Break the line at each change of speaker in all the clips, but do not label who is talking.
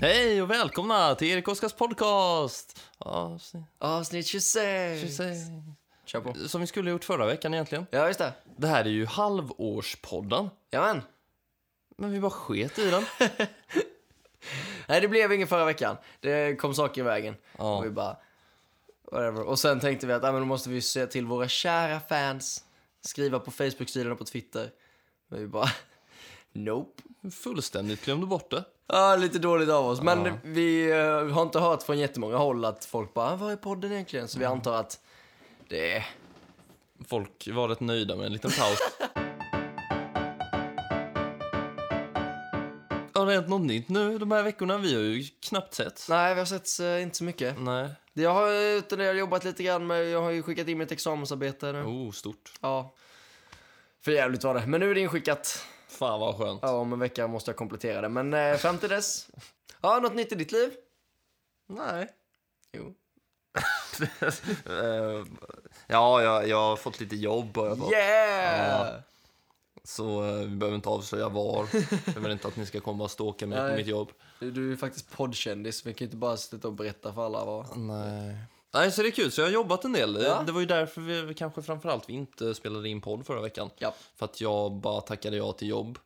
Hej och välkomna till Erik Oskars podcast! Ja, se-
Avsnitt 26.
se- se-
Kör på.
som vi skulle ha gjort förra veckan egentligen.
Ja, just det.
Det här är ju halvårspodden,
Jajamän.
men vi bara sket i den.
Nej, det blev ingen förra veckan. Det kom saker i vägen.
Ja.
Och vi bara... Whatever. Och sen tänkte vi att ah, men då måste vi se till våra kära fans. Skriva på Facebook-sidan och på Twitter. Men vi bara... Nope.
Fullständigt glömde bort det.
Ja, lite dåligt av oss. Men vi eh, har inte hört från jättemånga håll att folk bara, "Ah, var är podden egentligen? Så vi antar att det är...
Folk var rätt nöjda med en liten paus. Har det hänt något nytt nu de här veckorna? Vi har ju knappt sett.
Nej, vi har sett eh, inte så mycket.
Nej.
Jag har, utan det, jag har jobbat lite grann med, jag har ju skickat in mitt examensarbete nu.
Oh, stort.
Ja. För jävligt var det. Men nu är det inskickat.
Fan vad skönt.
Ja, om en vecka måste jag komplettera det. Men eh, fram till dess. Ja, något nytt i ditt liv?
Nej.
Jo.
Eh, ja, jag, jag har fått lite jobb och jag har fått-
Yeah!
Så eh, vi behöver inte avslöja var. Jag vill inte att ni ska komma och stalka mig på
Nej.
mitt jobb.
Du, du är ju faktiskt poddkändis. Vi kan ju inte bara sitta och berätta för alla vad...
Nej. Nej, så det är kul. Så jag har jobbat en del.
Ja.
Det var ju därför vi vi kanske framförallt vi inte spelade in podd förra veckan.
Ja.
För att jag bara tackade ja till jobb.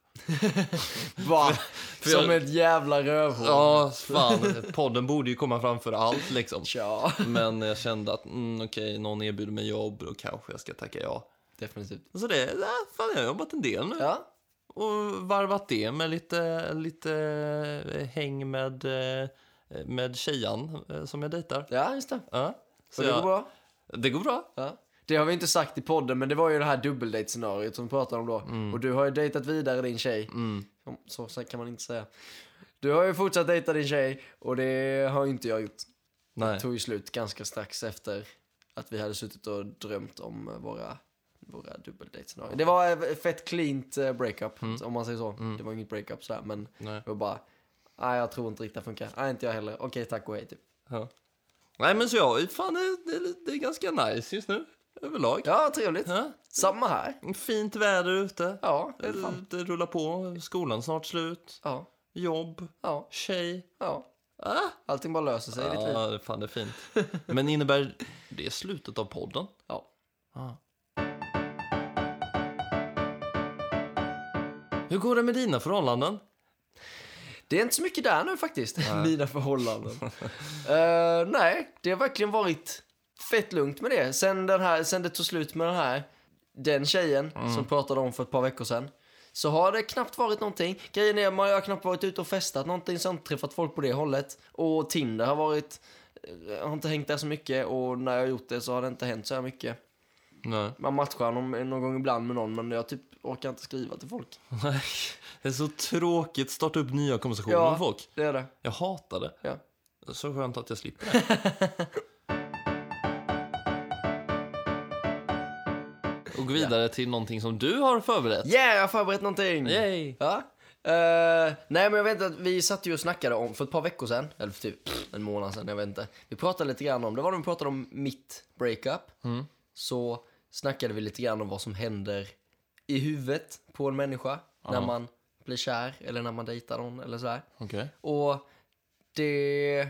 Va?
jag-
Som ett jävla rövhål.
Ja, fan. Podden borde ju komma framför allt liksom.
Tja.
Men jag kände att mm, okej, någon erbjuder mig jobb, då kanske jag ska tacka ja.
Definitivt.
Så det, ja, fan jag har jobbat en del nu.
Ja.
Och varvat det med lite, lite eh, häng med, eh, med tjejan eh, som jag dejtar.
Ja, just det.
Ja. Så
Och det
jag-
går bra.
Det går bra.
Ja. Det har vi inte sagt i podden, men det var ju det här dubbeldejtscenariot som vi pratade om då.
Mm.
Och du har ju dejtat vidare din tjej. Som- Så, så kan man inte säga. Du har ju fortsatt dejta din tjej och det har ju inte jag gjort. Det
Nej.
tog ju slut ganska strax efter att vi hade suttit och drömt om eh, våra, våra dubbeldejtscenarion. Det var ett fett cleant eh, breakup,
Mm.
om man säger så. Det var inget breakup sådär, men
Nej.
det var bara, nej jag tror inte riktigt det funkar. Nej, inte jag heller. Okej, tack och hej typ.
Ja. Nej men så jag, fan det, det, det är ganska nice just nu. Överlag.
Ja, trevligt.
Ja. Mm.
Samma här.
Fint väder ute.
Ja, det är
Det,
fan.
det rullar på. Skolan snart slut.
Ja,
Jobb.
ja,
Tjej.
ja.
Ah.
Allting bara löser sig i ditt liv.
Ja, det- fan det är fint. Men innebär det slutet av podden? Ah.
Ja.
Ja. Hur går det med dina förhållanden?
Det är inte så mycket där nu faktiskt, mina förhållanden. Eh, nej, det har verkligen varit fett lugnt med det. Sen, den här, sen det tog slut med den här, den tjejen som pratade om för ett par veckor sedan. Så har det knappt varit någonting. Grejen är, man har knappt varit ute och festat någonting, så jag har inte träffat folk på det hållet. Och Tinder har varit, jag har inte hängt där så mycket och när jag har gjort det så har det inte hänt så här mycket.
Nej.
Man matchar någon, någon gång ibland med någon men jag typ orkar inte skriva till folk.
Nej. Det är så tråkigt. Starta upp nya konversationer
Ja.
med folk.
Det är det.
Jag hatar det.
Ja.
Så skönt att jag slipper det. Och gå vidare till någonting som du har förberett.
Yeah, jag har förberett någonting!
Yay!
Ja. Eh, nej men jag vet inte att vi satt ju och snackade om, för ett par veckor sedan, eller för typ en månad sedan, jag vet inte. Vi pratade lite grann om, det var när vi pratade om mitt breakup. Så snackade vi lite grann om vad som händer i huvudet på en människa när man blir kär eller när man dejtar någon eller sådär.
Okej.
Och det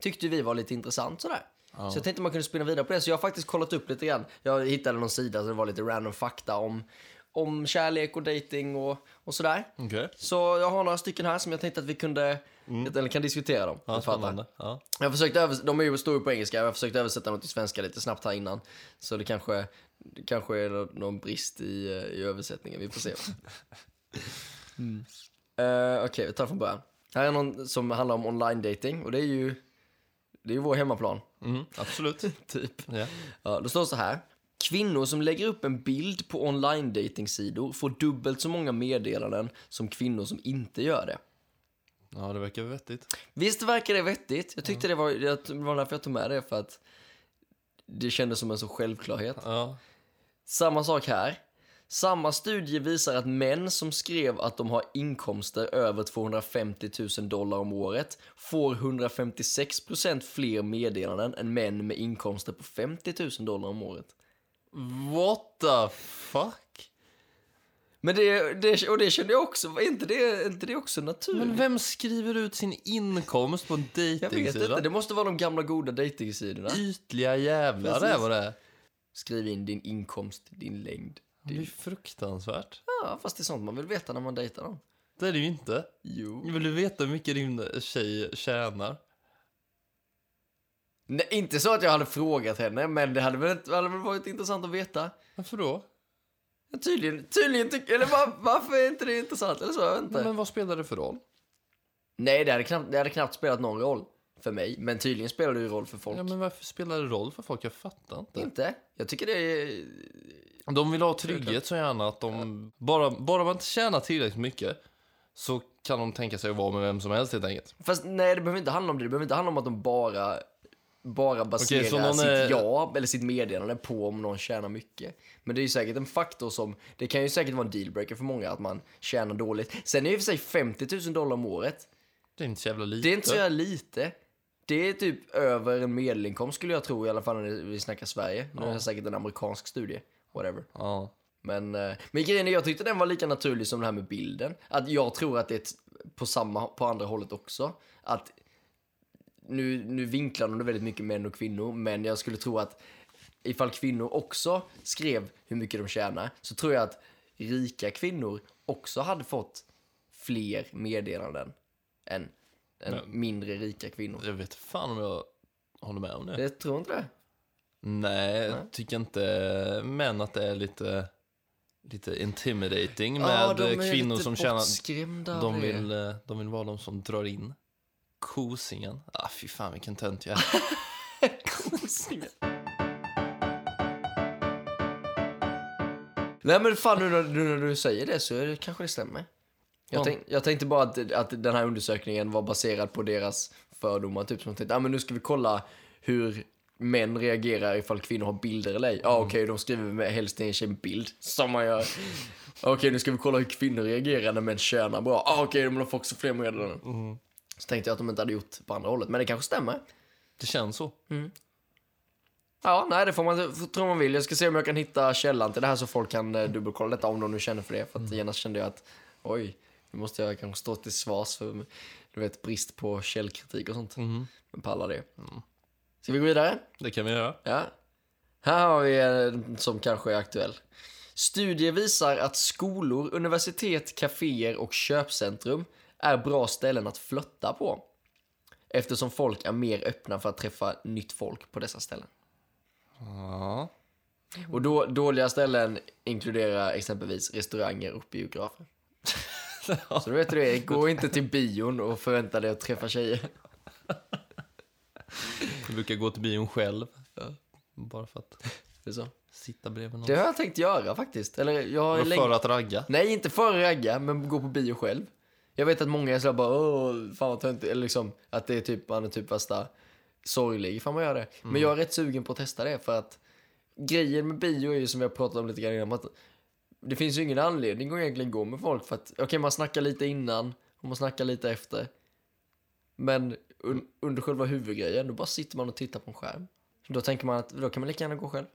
tyckte vi var lite intressant sådär. Så jag tänkte man kunde spinna vidare på det. Så jag har faktiskt kollat upp lite grann. Jag hittade någon sida så det var lite random fakta om, om kärlek och dating och, och sådär.
Okej.
Så jag har några stycken här som jag tänkte att vi kunde, eller kan diskutera dem.
Mm. Ja,
Jag fattar.
spännande. Ja.
Jag försökte övers- de är ju stora på engelska, jag försökte översätta dem till svenska lite snabbt här innan. Så det kanske, det kanske är nå- någon brist i, eh, i översättningen, vi får se. Eh, Okej, vi tar från början. Här är någon som handlar om online dating och det är ju, det är ju vår hemmaplan,
Mm, absolut.
typ.
Ja.
Ja, då står det så här. Kvinnor som lägger upp en bild på online datingsidor får dubbelt så många meddelanden som kvinnor som inte gör det.
ja, det verkar vettigt.
Visst verkar det vettigt? Jag tyckte det var, jag- det var därför jag tog med det, för att det kändes som en så självklarhet.
Ja.
Samma sak här. Samma studie visar att män som skrev att de har inkomster över 250 000 dollar om året får 156% fler meddelanden än män med inkomster på 50 000 dollar om året.
What the fuck?
Men det, det, och det kände jag också, var inte det, inte det också naturligt?
Men vem skriver ut sin inkomst på en
jag vet inte,
dejtingsida?
det måste vara de gamla goda dejtingsidorna.
Ytliga jävlar
Precis.
det var det.
Skriv in din inkomst, din längd.
Det är
Din...
ju fruktansvärt.
Ja, fast det är sånt man vill veta när man dejtar dem.
Det är det ju inte.
Jo.
Vill du veta hur mycket din tjej tjänar?
Nej, inte så att jag hade frågat henne, men det hade väl, hade väl varit intressant att veta.
Varför då?
Ja, Tydligen, tydligen tycker, eller var, varför är inte det intressant? Eller så, jag vet inte.
Men vad spelar det för roll?
Nej, det hade, knappt, det hade knappt spelat någon roll för mig, men tydligen spelar det ju roll för folk.
Ja, men varför spelar det roll för folk? Jag fattar inte.
Inte? Jag tycker det är...
De vill ha trygghet så gärna att de... Bara, bara man inte tjänar tillräckligt mycket så kan de tänka sig att vara med vem som helst helt enkelt.
Fast nej, det behöver inte handla om det. Det behöver inte handla om att de bara, bara baserar
Okej, så någon
sitt
är-
ja eller sitt meddelande på om någon tjänar mycket. Men det är ju säkert en faktor som... Det kan ju säkert vara en dealbreaker för många att man tjänar dåligt. Sen är det i och för sig 50 000 dollar om året.
Det är inte så jävla lite.
Det är inte så jävla lite. Det är typ över en medelinkomst skulle jag tro i alla fall när vi snackar Sverige. Nu är det säkert en amerikansk studie. Whatever.
Ja.
Men, eh, men grejen är, jag tyckte den var lika naturlig som det här med bilden. Att jag tror att det är ett- på samma, på andra hållet också. Att nu, nu vinklar de det väldigt mycket män och kvinnor, men jag skulle tro att ifall kvinnor också skrev hur mycket de tjänar, så tror jag att rika kvinnor också hade fått fler meddelanden än, än mindre rika kvinnor.
Jag vet fan om jag håller med om det.
Det tror inte det.
Nej, jag tycker inte men att det är lite, lite intimidating med eh, kvinnor som tjänar...
tjänar...
De vill, eh, de vill vara de som drar in kosingen. Ah, fy fan vilken tönt jag är.
Kosingen. Nej men fan nu när, nu när du säger det så är det, kanske det stämmer. Jag,
Ja.
tänk, jag tänkte bara att, att den här undersökningen var baserad på deras fördomar. Typ som tänkte, ah, men nu ska vi kolla hur män reagerar ifall kvinnor har bilder eller ej. Ja ah, okej, de skriver med helst en tjej med bild. Som man gör. okej, nu ska vi kolla hur kvinnor reagerar när män tjänar bra. Ah, okej, de har också fler meddelanden. Så tänkte jag att de inte hade gjort på andra hållet. Men det kanske stämmer.
Det känns så.
Ja, nej det får man får tro man vill. Jag ska se om jag kan hitta källan till det här så folk kan eh, dubbelkolla detta om de nu känner för det. För att genast kände jag att oj, nu måste jag kanske stå till svars för du vet, brist på källkritik och sånt. Men pallar det. Mm. Ska vi gå vidare?
Det kan vi göra.
Ja. Här har vi en som kanske är aktuell. Studier visar att skolor, universitet, kaféer och köpcentrum är bra ställen att flytta på. Eftersom folk är mer öppna för att träffa nytt folk på dessa ställen.
Ja.
Och då, dåliga ställen inkluderar exempelvis restauranger och biografer. Så då vet du det, gå inte till bion och förvänta dig att träffa tjejer.
Jag brukar gå till bion själv. eh, Bara för att
Det, är så.
sitta bredvid någon.
det har jag tänkt göra faktiskt. Eller jag har
Bara
länge...
för att ragga.
Nej, inte för att ragga, men gå på bio själv. Jag vet att många är så här bara åh, fan vad töntigt. Eller liksom att det är typ, man är typ värsta sorglig ifall man gör det. Men jag är rätt sugen på att testa det för att grejen med bio är ju som vi har pratat om lite grann innan. Att det finns ju ingen anledning att egentligen gå med folk för att okej, man snackar lite innan och man snackar lite efter. Men un- under själva huvudgrejen, då bara sitter man och tittar på en skärm. Då tänker man att då kan man lika gärna gå själv.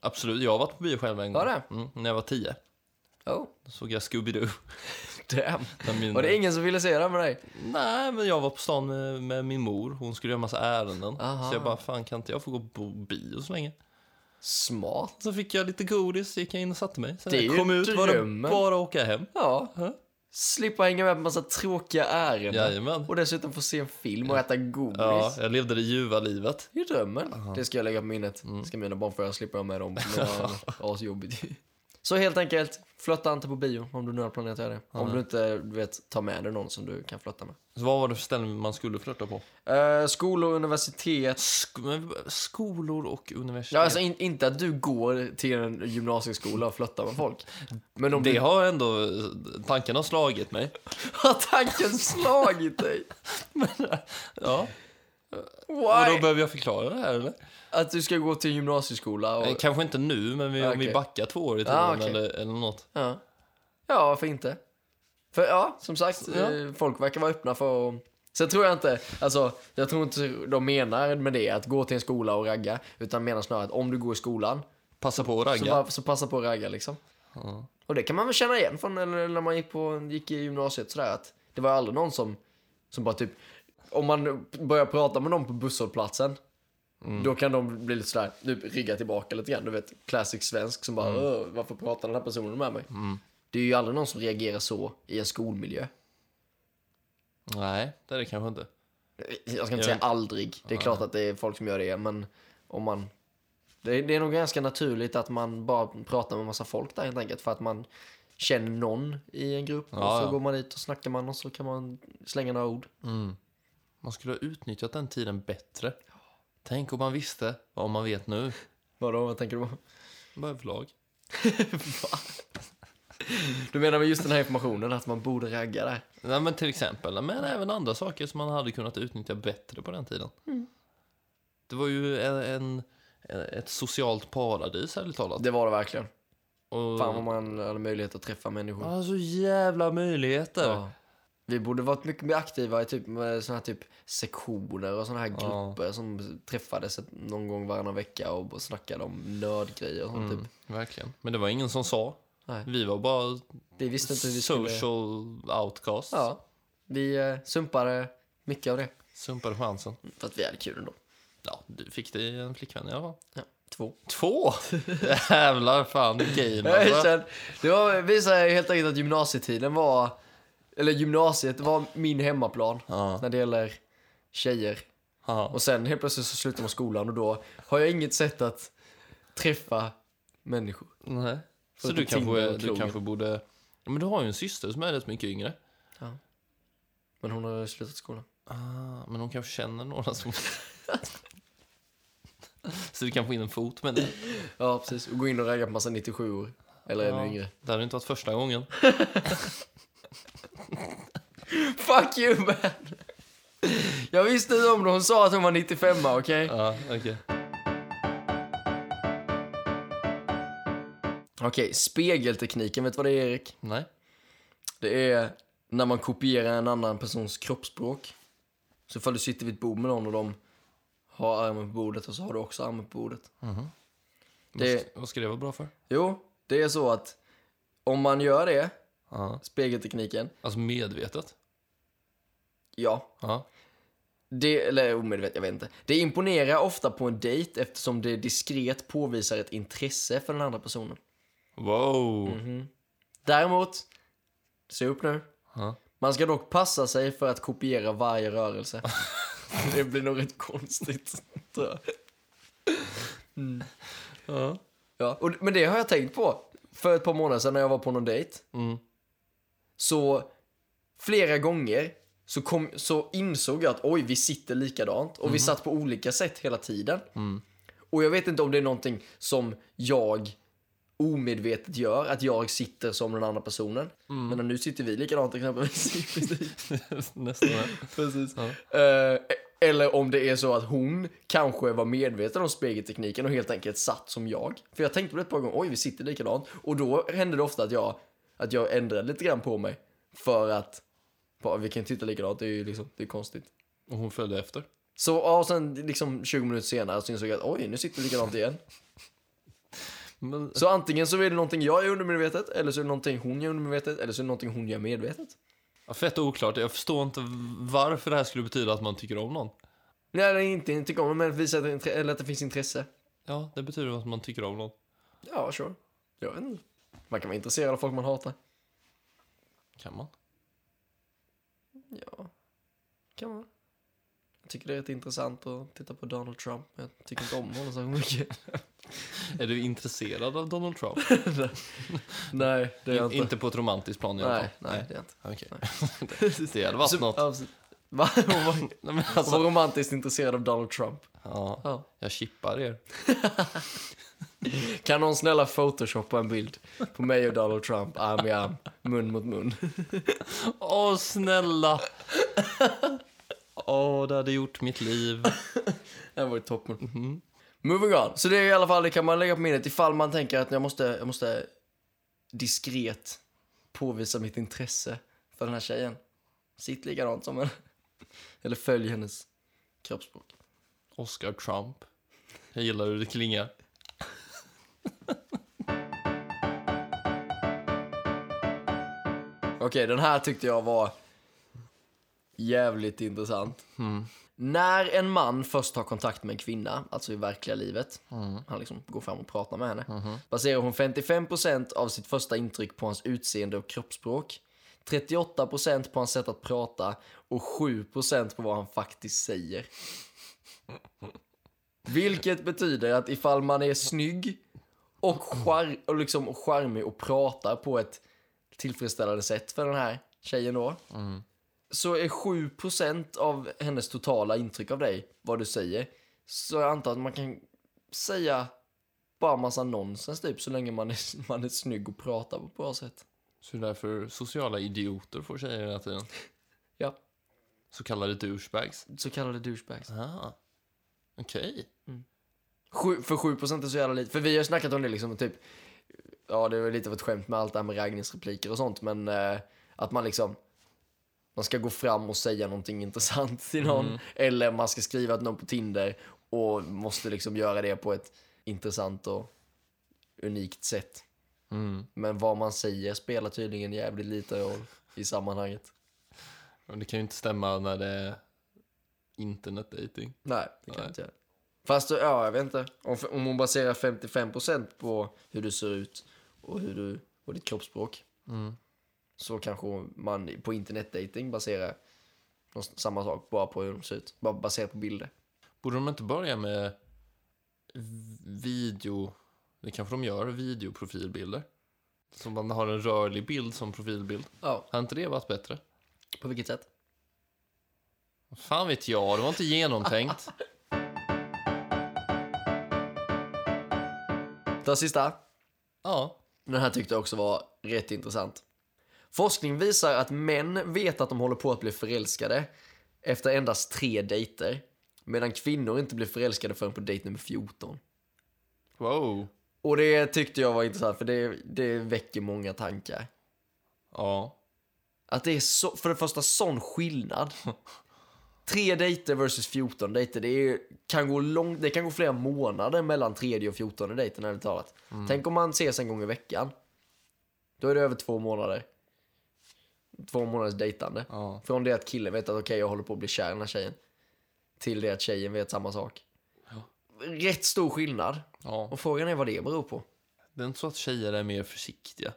Absolut, jag har varit på bio själv en gång.
Har det?
Mm, när jag var tio.
Oh,
Då såg jag Scooby-Doo.
damn.
När min-
Var det ingen som ville se det med dig?
Nej, men jag var på stan med, med min mor. Hon skulle göra massa ärenden.
Aha.
Så jag bara, fan kan inte jag få gå på bio så länge?
Smart.
Så fick jag lite godis, gick jag in och satte mig. Sen
Det är
när jag
ju
kom ut var det
drömmen.
bara att åka hem.
Ja.
Ja.
Slippa hänga med på massa tråkiga ärenden.
Jajamän.
Och dessutom få se en film och äta godis.
Ja, jag levde det ljuva livet.
Det är ju drömmen. Det ska jag lägga på minnet.
Mm.
Ska mina barn få göra, slipper jag med dem. Det var asjobbigt. Så helt enkelt, flötta inte på bio om du nu har planerat att göra det. Om du inte du vet, tar med dig någon som du kan flötta med.
Så vad var det för ställen man skulle flirta på?
Eh, skolor, universitet.
Sk- men skolor och universitet.
Ja, alltså in, inte att du går till en gymnasieskola och flörtar med folk. Men om
Det
du
har ändå, tanken har slagit mig.
har tanken slagit dig.
Ja, och då
Why?
behöver jag förklara det här eller?
Att du ska gå till en gymnasieskola och...
Eh, Kanske inte nu, men vi, om vi
Okej.
backar två år i tiden
Ah, okej.
eller, eller något.
Ja. ja, varför inte? För ja, som sagt,
Ja.
eh, folk verkar vara öppna för att... Sen tror jag inte, alltså, jag tror inte de menar med det att gå till en skola och ragga, utan menar snarare att om du går i skolan
Passa på att
så,
ragga.
bara, så passa på att ragga liksom.
Ja.
Och det kan man väl känna igen från eller när man gick, på, gick i gymnasiet sådär att det var aldrig någon som, som bara typ, om man börjar prata med någon på busshållplatsen Då kan de bli lite sådär, nu rigga tillbaka lite grann, du vet, classic svensk som bara "Åh, varför pratar den här personen med mig? Det är ju aldrig någon som reagerar så i en skolmiljö.
Nej, det är det kanske inte.
Jag ska inte säga aldrig, det är klart att det är folk som gör det, men om man... Det är, det är nog ganska naturligt att man bara pratar med massa folk där helt enkelt för att man känner någon i en grupp
Ja,
och så
ja.
går man dit och snackar man och så kan man slänga några ord.
Mm. Man skulle ha utnyttjat den tiden bättre. Tänk om man visste vad man vet nu.
Vadå, vad tänker du på?
Vad är förlag?
Du menar med just den här informationen att man borde ragga där?
Nej, men till exempel, men även andra saker som man hade kunnat utnyttja bättre på den tiden. Det var ju en, en, ett socialt paradis, ärligt talat.
Det var det verkligen.
Och,
Fan vad man hade möjlighet att träffa människor.
man har så jävla möjligheter.
Ja. Vi borde varit mycket mer aktiva i typ, med såna här typ sektioner och såna här
Ja.
grupper som träffades ett- någon gång varannan vecka och bara snackade om nördgrejer och sånt
Mm,
typ.
verkligen. Men det var ingen som sa.
Nej.
Vi var bara
Vi visste inte hur vi skulle...
social outcasts.
Ja, vi eh, sumpade mycket av det.
Sumpade chansen.
För att vi hade kul ändå.
Ja, du fick dig en flickvän i alla fall.
Ja, två.
Två! Jävlar fan, game
Jag
alltså.
känner- Det var, visar helt enkelt att gymnasietiden var... Eller gymnasiet var min hemmaplan
Ja.
när det gäller tjejer.
Ja.
Och sen helt plötsligt så slutar man skolan och då har jag inget sätt att träffa människor.
Nej. Så
Förutom
du
Tinder
kanske,
och
du
krogen.
kanske borde... Ja, Men du har ju en syster som är rätt mycket yngre.
Men hon har slutat skolan.
Ah, men hon kanske känner några som... Så du kan få in en fot med det.
Ja, precis. Och gå in och ragga på massa 97 år. Eller ännu yngre.
Det hade inte varit första gången.
Fuck you man! Jag visste inte om det. Hon sa att hon var 95 okej?
Ja, okej.
Okej, spegeltekniken. Vet du vad det är Erik?
Nej.
Det är när man kopierar en annan persons kroppsspråk. Så ifall du sitter vid ett bord med någon och de har armen på bordet och så har du också armen på bordet.
Vad
Det-
ska- Vad ska det vara bra för?
Jo, det är så att om man gör det,
Ja.
spegeltekniken,
Alltså medvetet.
ja,
Ja.
Det, eller omedvetet, jag vet inte. Det imponerar ofta på en dejt eftersom det diskret påvisar ett intresse för den andra personen.
Wow.
Däremot, se upp nu.
Ja.
Man ska dock passa sig för att kopiera varje rörelse. det blir nog rätt konstigt, tror jag.
Ja.
Ja, och, men det har jag tänkt på. För ett par månader sedan när jag var på någon dejt.
Mm.
Så flera gånger så, kom, så insåg jag att oj, vi sitter likadant. Och vi satt på olika sätt hela tiden. Och jag vet inte om det är någonting som jag omedvetet gör, att jag sitter som den andra personen. Men nu sitter vi likadant exempelvis.
Nästan. där.
Precis.
Ja.
Eh, eller om det är så att hon kanske var medveten om spegeltekniken och helt enkelt satt som jag. För jag tänkte på det ett par gånger, oj vi sitter likadant. Och då hände det ofta att jag, att jag ändrade lite grann på mig. För att, bara, vi kan inte titta likadant, det är ju liksom, det är konstigt.
Och hon följde efter.
Så ja, och sen liksom 20 minuter senare så insåg jag att oj, nu sitter vi likadant igen.
Men,
Så antingen så är det någonting jag gör undermedvetet, eller så är det någonting hon gör undermedvetet, eller så är det någonting hon gör medvetet.
ja, fett oklart. Jag förstår inte varför det här skulle betyda att man tycker om någon.
Nej, det är inte, inte tycker om det, men att visa att det, är intre- eller att det finns intresse.
Ja, det betyder att man tycker om någon.
Ja, sure. Jag vet inte. Man kan vara intresserad av folk man hatar.
Kan man?
Ja, kan man. Jag tycker det är rätt intressant att titta på Donald Trump, men jag tycker inte om honom så mycket.
Är du intresserad av Donald Trump?
nej, det är jag
In,
inte.
inte på ett romantiskt plan i alla
nej,
fall.
nej, det är jag inte.
Okej. det hade varit något.
Ja, precis. Va? Hon var-
Nej, men
hon
alltså,
var romantiskt intresserad av Donald Trump.
ja,
Ja.
jag chippar er.
Kan någon snälla photoshoppa en bild på mig och Donald Trump, arm i arm, mun mot mun?
Åh, snälla! Åh, det hade gjort mitt liv.
Det här var ju toppen. Moving on. Så det är i alla fall, det kan man lägga på minnet ifall man tänker att jag måste, jag måste diskret påvisa mitt intresse för den här tjejen. Sitt likadant som henne. Eller följ hennes kroppsspråk.
Oscar Trump. Jag gillar hur det klingar.
Okej, den här tyckte jag var jävligt intressant. När en man först har kontakt med en kvinna, alltså i verkliga livet, han liksom går fram och pratar med henne, baserar hon 55% av sitt första intryck på hans utseende och kroppsspråk, 38% på hans sätt att prata och 7% på vad han faktiskt säger. Vilket betyder att ifall man är snygg och, char- och liksom charmig och pratar på ett tillfredsställande sätt för den här tjejen då. Så är 7% av hennes totala intryck av dig vad du säger. Så jag antar att man kan säga bara massa nonsens typ så länge man är, man är snygg och pratar på ett bra sätt.
Så det är därför sociala idioter får tjejer hela tiden.
Ja,
Så kallade douchebags.
så kallade douchebags.
Ah, okej.
Sju, för 7% är så jävla lite. För vi har snackat om det liksom typ. Ja, det var lite av ett skämt med allt det här med Ragnhilds repliker och sånt. Men eh, att man liksom. Man ska gå fram och säga någonting intressant till någon. Eller man ska skriva till någon på Tinder. Och måste liksom göra det på ett intressant och unikt sätt.
Mm.
Men vad man säger spelar tydligen jävligt lite roll i sammanhanget.
Men det kan ju inte stämma när det är internetdating.
Nej, det kan
Nej.
inte jag. Fast ja, jag vet inte. Om, om hon baserar 55% på hur du ser ut och, hur du, och ditt kroppsspråk
Mm.
så kanske man på internetdating baserar nå- samma sak bara på hur de ser ut. Bara baserat på bilder.
Borde de inte börja med v- video... Det kanske de gör, videoprofilbilder. Så man har en rörlig bild som profilbild.
Ja,
Hade inte det varit bättre?
på vilket sätt?
Fan vet jag, det var inte genomtänkt.
Den sista.
Ja.
Den här tyckte jag också var rätt intressant. Forskning visar att män vet att de håller på att bli förälskade efter endast tre dejter. Medan kvinnor inte blir förälskade förrän på dejt nummer 14.
Wow.
Och det tyckte jag var intressant för det, det väcker många tankar.
Ja.
Att det är så, för det första sån skillnad. Tre dejter versus 14 dejter, det är, kan, gå lång, det kan gå flera månader mellan tredje och fjortonde dejten ärligt talat. Tänk om man ses en gång i veckan. Då är det över två månader. Två månaders dejtande.
ja.
Från det att killen vet att okej jag håller på att bli kär i den här tjejen. Till det att tjejen vet samma sak.
Ja.
Rätt stor skillnad.
ja.
Och frågan är vad det beror på.
Det är inte så att tjejer är mer försiktiga.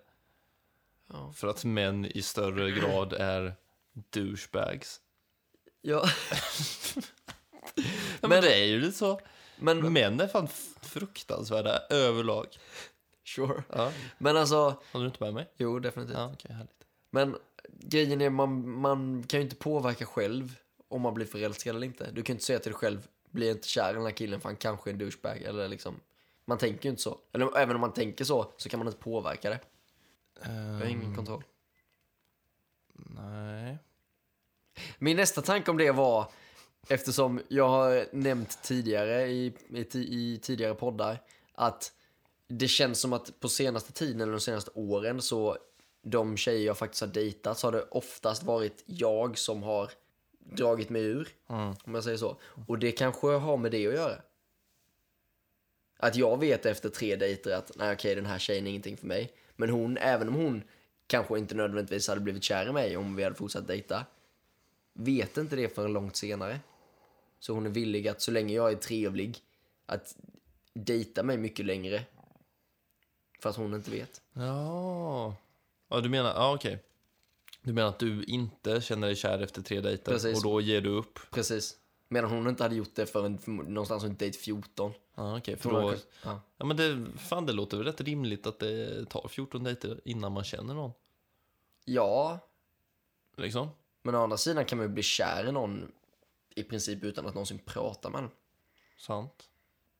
Ja.
För att män i större grad är douchebags.
Ja.
Ja, men,
Men-
det är ju lite så.
Men
Män är fan f- fruktansvärda överlag.
Sure.
Ja.
Men alltså,
Håller du inte med mig?
jo definitivt.
Ja, okej, härligt.
Men grejen är, man, man kan ju inte påverka själv om man blir förälskad eller inte. Du kan ju inte säga till dig själv, bli inte kär i den här killen för han kanske är en douchebag. Eller liksom, man tänker ju inte så. Eller även om man tänker så, så kan man inte påverka det. Jag har
Mm.
ingen kontroll.
Nej.
Min nästa tanke om det var, eftersom jag har nämnt tidigare i, i, ti- i tidigare poddar, att det känns som att på senaste tiden eller de senaste åren så de tjejer jag faktiskt har dejtat så har det oftast varit jag som har dragit mig ur.
Mm.
Om jag säger så. Och det kanske har med det att göra. Att jag vet efter tre dejter att nej okej den här tjejen är ingenting för mig. Men hon, även om hon kanske inte nödvändigtvis hade blivit kär i mig om vi hade fortsatt dejta. Vet inte det förrän långt senare. Så hon är villig att så länge jag är trevlig att dejta mig mycket längre. För att hon inte vet.
Ja. Ja, du menar, ja okej. Du menar att du inte känner dig kär efter tre dejter
Precis.
och då ger du upp?
Precis. Medan hon inte hade gjort det förrän förmo- någonstans runt dejt 14.
Ja, okej. för
Hon hade
då...
kunnat- ja.
Ja, men det, fan, det låter väl rätt rimligt att det tar 14 dejter innan man känner någon.
ja,
Liksom.
Men å andra sidan kan man ju bli kär i någon i princip utan att någonsin prata med den.
Sant.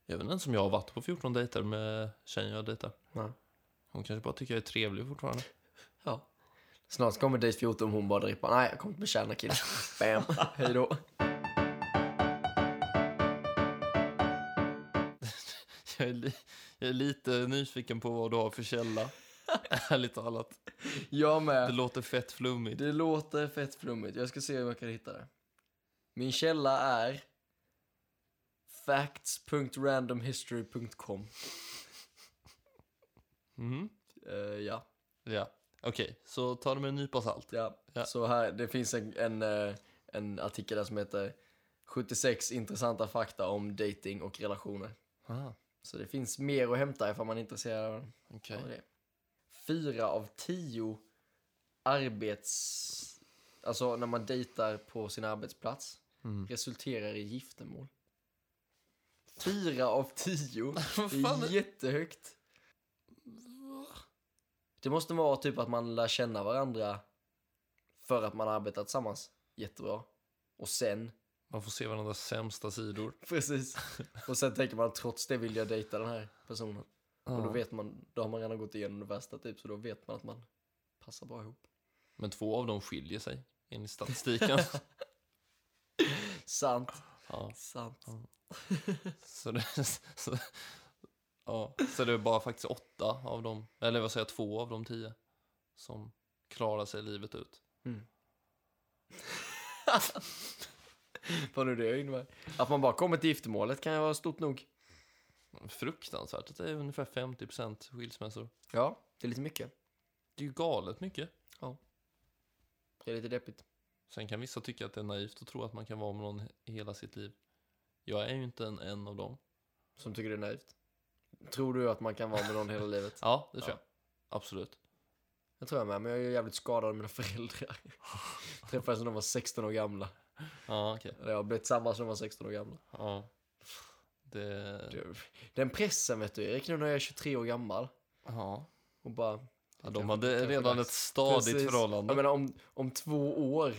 Jag vet inte ens om jag har varit på 14 dejter med tjejen jag dejtar.
Ja.
Hon kanske bara tycker jag är trevlig fortfarande.
ja. Snart kommer dejt 14 och hon bara drippar. Nej, jag kommer inte bli kär i den här killen. Bam, hej då.
Jag är, li- jag är lite nyfiken på vad du har för källa. Ärligt talat.
Jag
Det
med.
låter fett flummigt.
Det låter fett flummigt. Jag ska se om jag kan hitta det. Min källa är facts.randomhistory.com.
Mhm.
Eh, ja.
Ja. Okej, så ta det med en nypa salt.
Ja.
Ja.
Så här, det finns en, en, eh, en artikel där som heter 76 intressanta fakta om dating och relationer.
Ah,
Så det finns mer att hämta ifall man är intresserad av
okej.
av det. Fyra av tio arbets... Alltså när man dejtar på sin arbetsplats
Mm.
resulterar i giftermål. Fyra av tio. Det
fan är-
är jättehögt. Det måste vara typ att man lär känna varandra för att man arbetar tillsammans jättebra. Och sen,
Man får se varandras sämsta sidor.
precis. Och sen tänker man trots det vill jag dejta den här personen. Och då
Ja.
vet man, då har man redan gått igenom det värsta typ, så då vet man att man passar bra ihop.
Men två av dem skiljer sig, enligt statistiken.
Sant,
ja,
sant.
så, det, så, ja, så det är bara faktiskt åtta av dem, eller vad säger jag, två av de tio som klarar sig livet ut.
Vad nu det innebär. Att man bara kommer till giftermålet kan ju vara stort nog.
Fruktansvärt att det är ungefär 50% skilsmässor.
Ja, det är lite mycket.
Det är ju galet mycket.
Det är lite deppigt.
Sen kan vissa tycka att det är naivt att tro att man kan vara med någon i hela sitt liv. Jag är ju inte en, en av dem.
Som tycker det är naivt. Tror du att man kan vara med någon hela livet?
Ja, det tror
Ja.
jag. Absolut.
Jag tror jag med, men jag är ju jävligt skadad av mina föräldrar. Träffades när de var 16 år gamla.
Ja, okej.
Eller jag har blivit tillsammans när de var 16 år gamla.
Ja. Det...
Du, Den pressen vet du Erik, nu när jag är 23 år gammal.
Ja.
Och bara...
ja
kanske-
de hade
kanske
redan
dags.
ett stadigt
Precis.
förhållande.
Jag menar om, om två år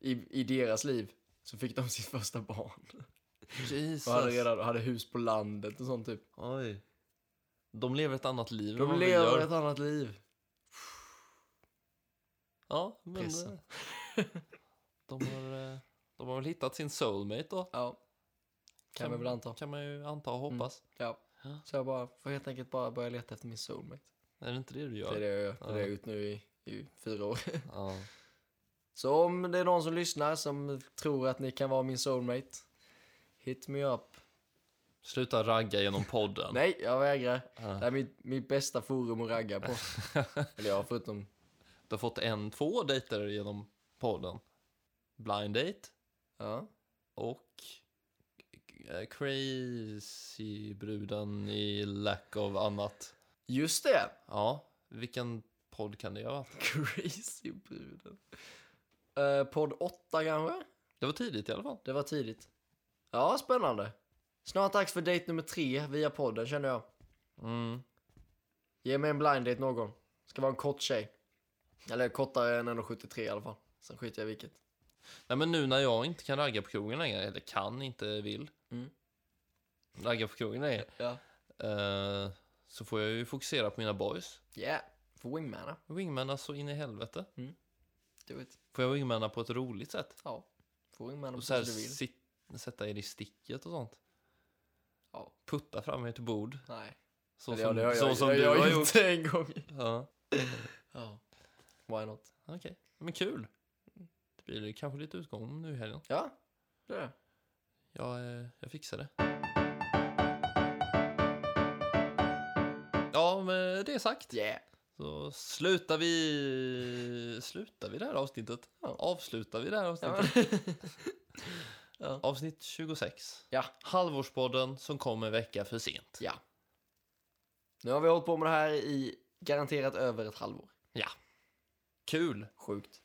i, i deras liv så fick de sitt första barn.
Jesus.
Och hade, redan, hade hus på landet och sånt typ.
Oj. De lever ett annat liv än
De
vad vi
lever
gör.
ett annat liv.
Ja, men...
Pressen.
eh, De har, eh, de har väl hittat sin soulmate då.
Ja. Kan vi väl anta. Mm.
Kan man ju anta och hoppas.
Ja.
Ja.
Så jag bara, får helt enkelt bara börja leta efter min soulmate.
Är det inte det du
Det är
gör?
det jag gör.
Ja.
Det är det jag har gjort nu i, i fyra år.
Ja.
Så om det är någon som lyssnar som tror att ni kan vara min soulmate. Hit me up.
Sluta ragga genom podden. Eh,
Nej, jag vägrar.
Ja.
Det här är mitt, mitt bästa forum att ragga på. Eller ja, förutom...
Du har fått en, två dejter genom podden. Blind date
Ja.
och eh, Crazy-bruden i Lack of annat.
Just det!
Ja, vilken podd kan det ha varit?
Crazy bruden. Eh, podd 8 kanske?
Det var tidigt i alla fall.
Det var tidigt. Ja, spännande. Snart dags för dejt nummer tre via podden känner jag.
Mm.
Ge mig en blind date någon. Ska vara en kort tjej. Eller kortare än 1,73 i alla fall. Sen skiter jag i vilket.
Nej, men nu när jag inte kan ragga på krogen längre, eller kan, inte vill
Mm.
ragga på krogen längre,
Ja.
eh, så får jag ju fokusera på mina boys.
Yeah. För wingmana.
Wingmanna så in i helvete.
Do it.
Får jag wingmanna på ett roligt sätt?
Ja. Får wingmana
Och
Mm,
så
precis
här,
hur du vill.
sit, sätta er i sticket och sånt.
Ja.
Putta fram er till bord.
Nej.
Så
Eller
som,
ja, det har
så
jag,
som
jag,
du
jag,
har gjort.
gjort det en gång.
Ja,
Ja. Why not?
okej. Men kul. Det blir kanske lite utgång nu i helgen.
Ja. Det är det.
Jag, eh, jag fixar det. Ja, med det sagt
Yeah.
så slutar vi... Slutar vi det här avsnittet?
Ja.
Avslutar vi det här
Ja,
avsnittet?
men-
Avsnitt 26.
Ja.
Halvårspodden som kom en vecka för sent.
Ja. Nu har vi hållit på med det här i garanterat över ett halvår.
Ja. Kul.
Sjukt.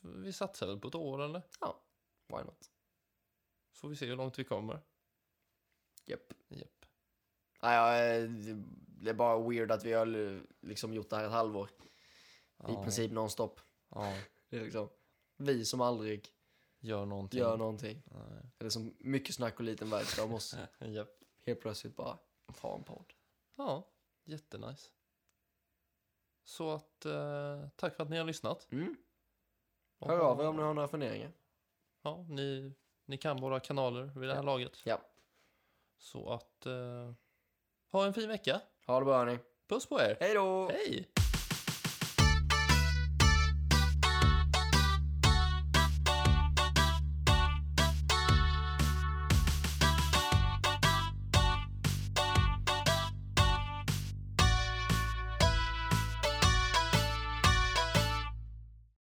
Vi satsar väl på ett år, eller?
Ja, why not?
Får vi se hur långt vi kommer.
Japp.
Japp.
Nej, ja, eh, det är bara weird att vi har l- liksom gjort det här ett halvår. I
Ja.
princip nonstop.
Ja,
Det är liksom vi som aldrig
gör någonting.
gör någonting.
Nej.
Eller som mycket snack och liten verkstad om oss.
Japp.
Helt plötsligt bara ha en podd.
Ja, jättenice. Så att eh, tack för att ni har lyssnat.
Mm. Hör av er om ni har några funderingar.
Ja, ni, ni kan våra kanaler vid det här
Ja.
laget.
Ja,
Så att eh, ha en fin vecka.
ha det bra hörni.
Puss på er.
Hej då!
Hej!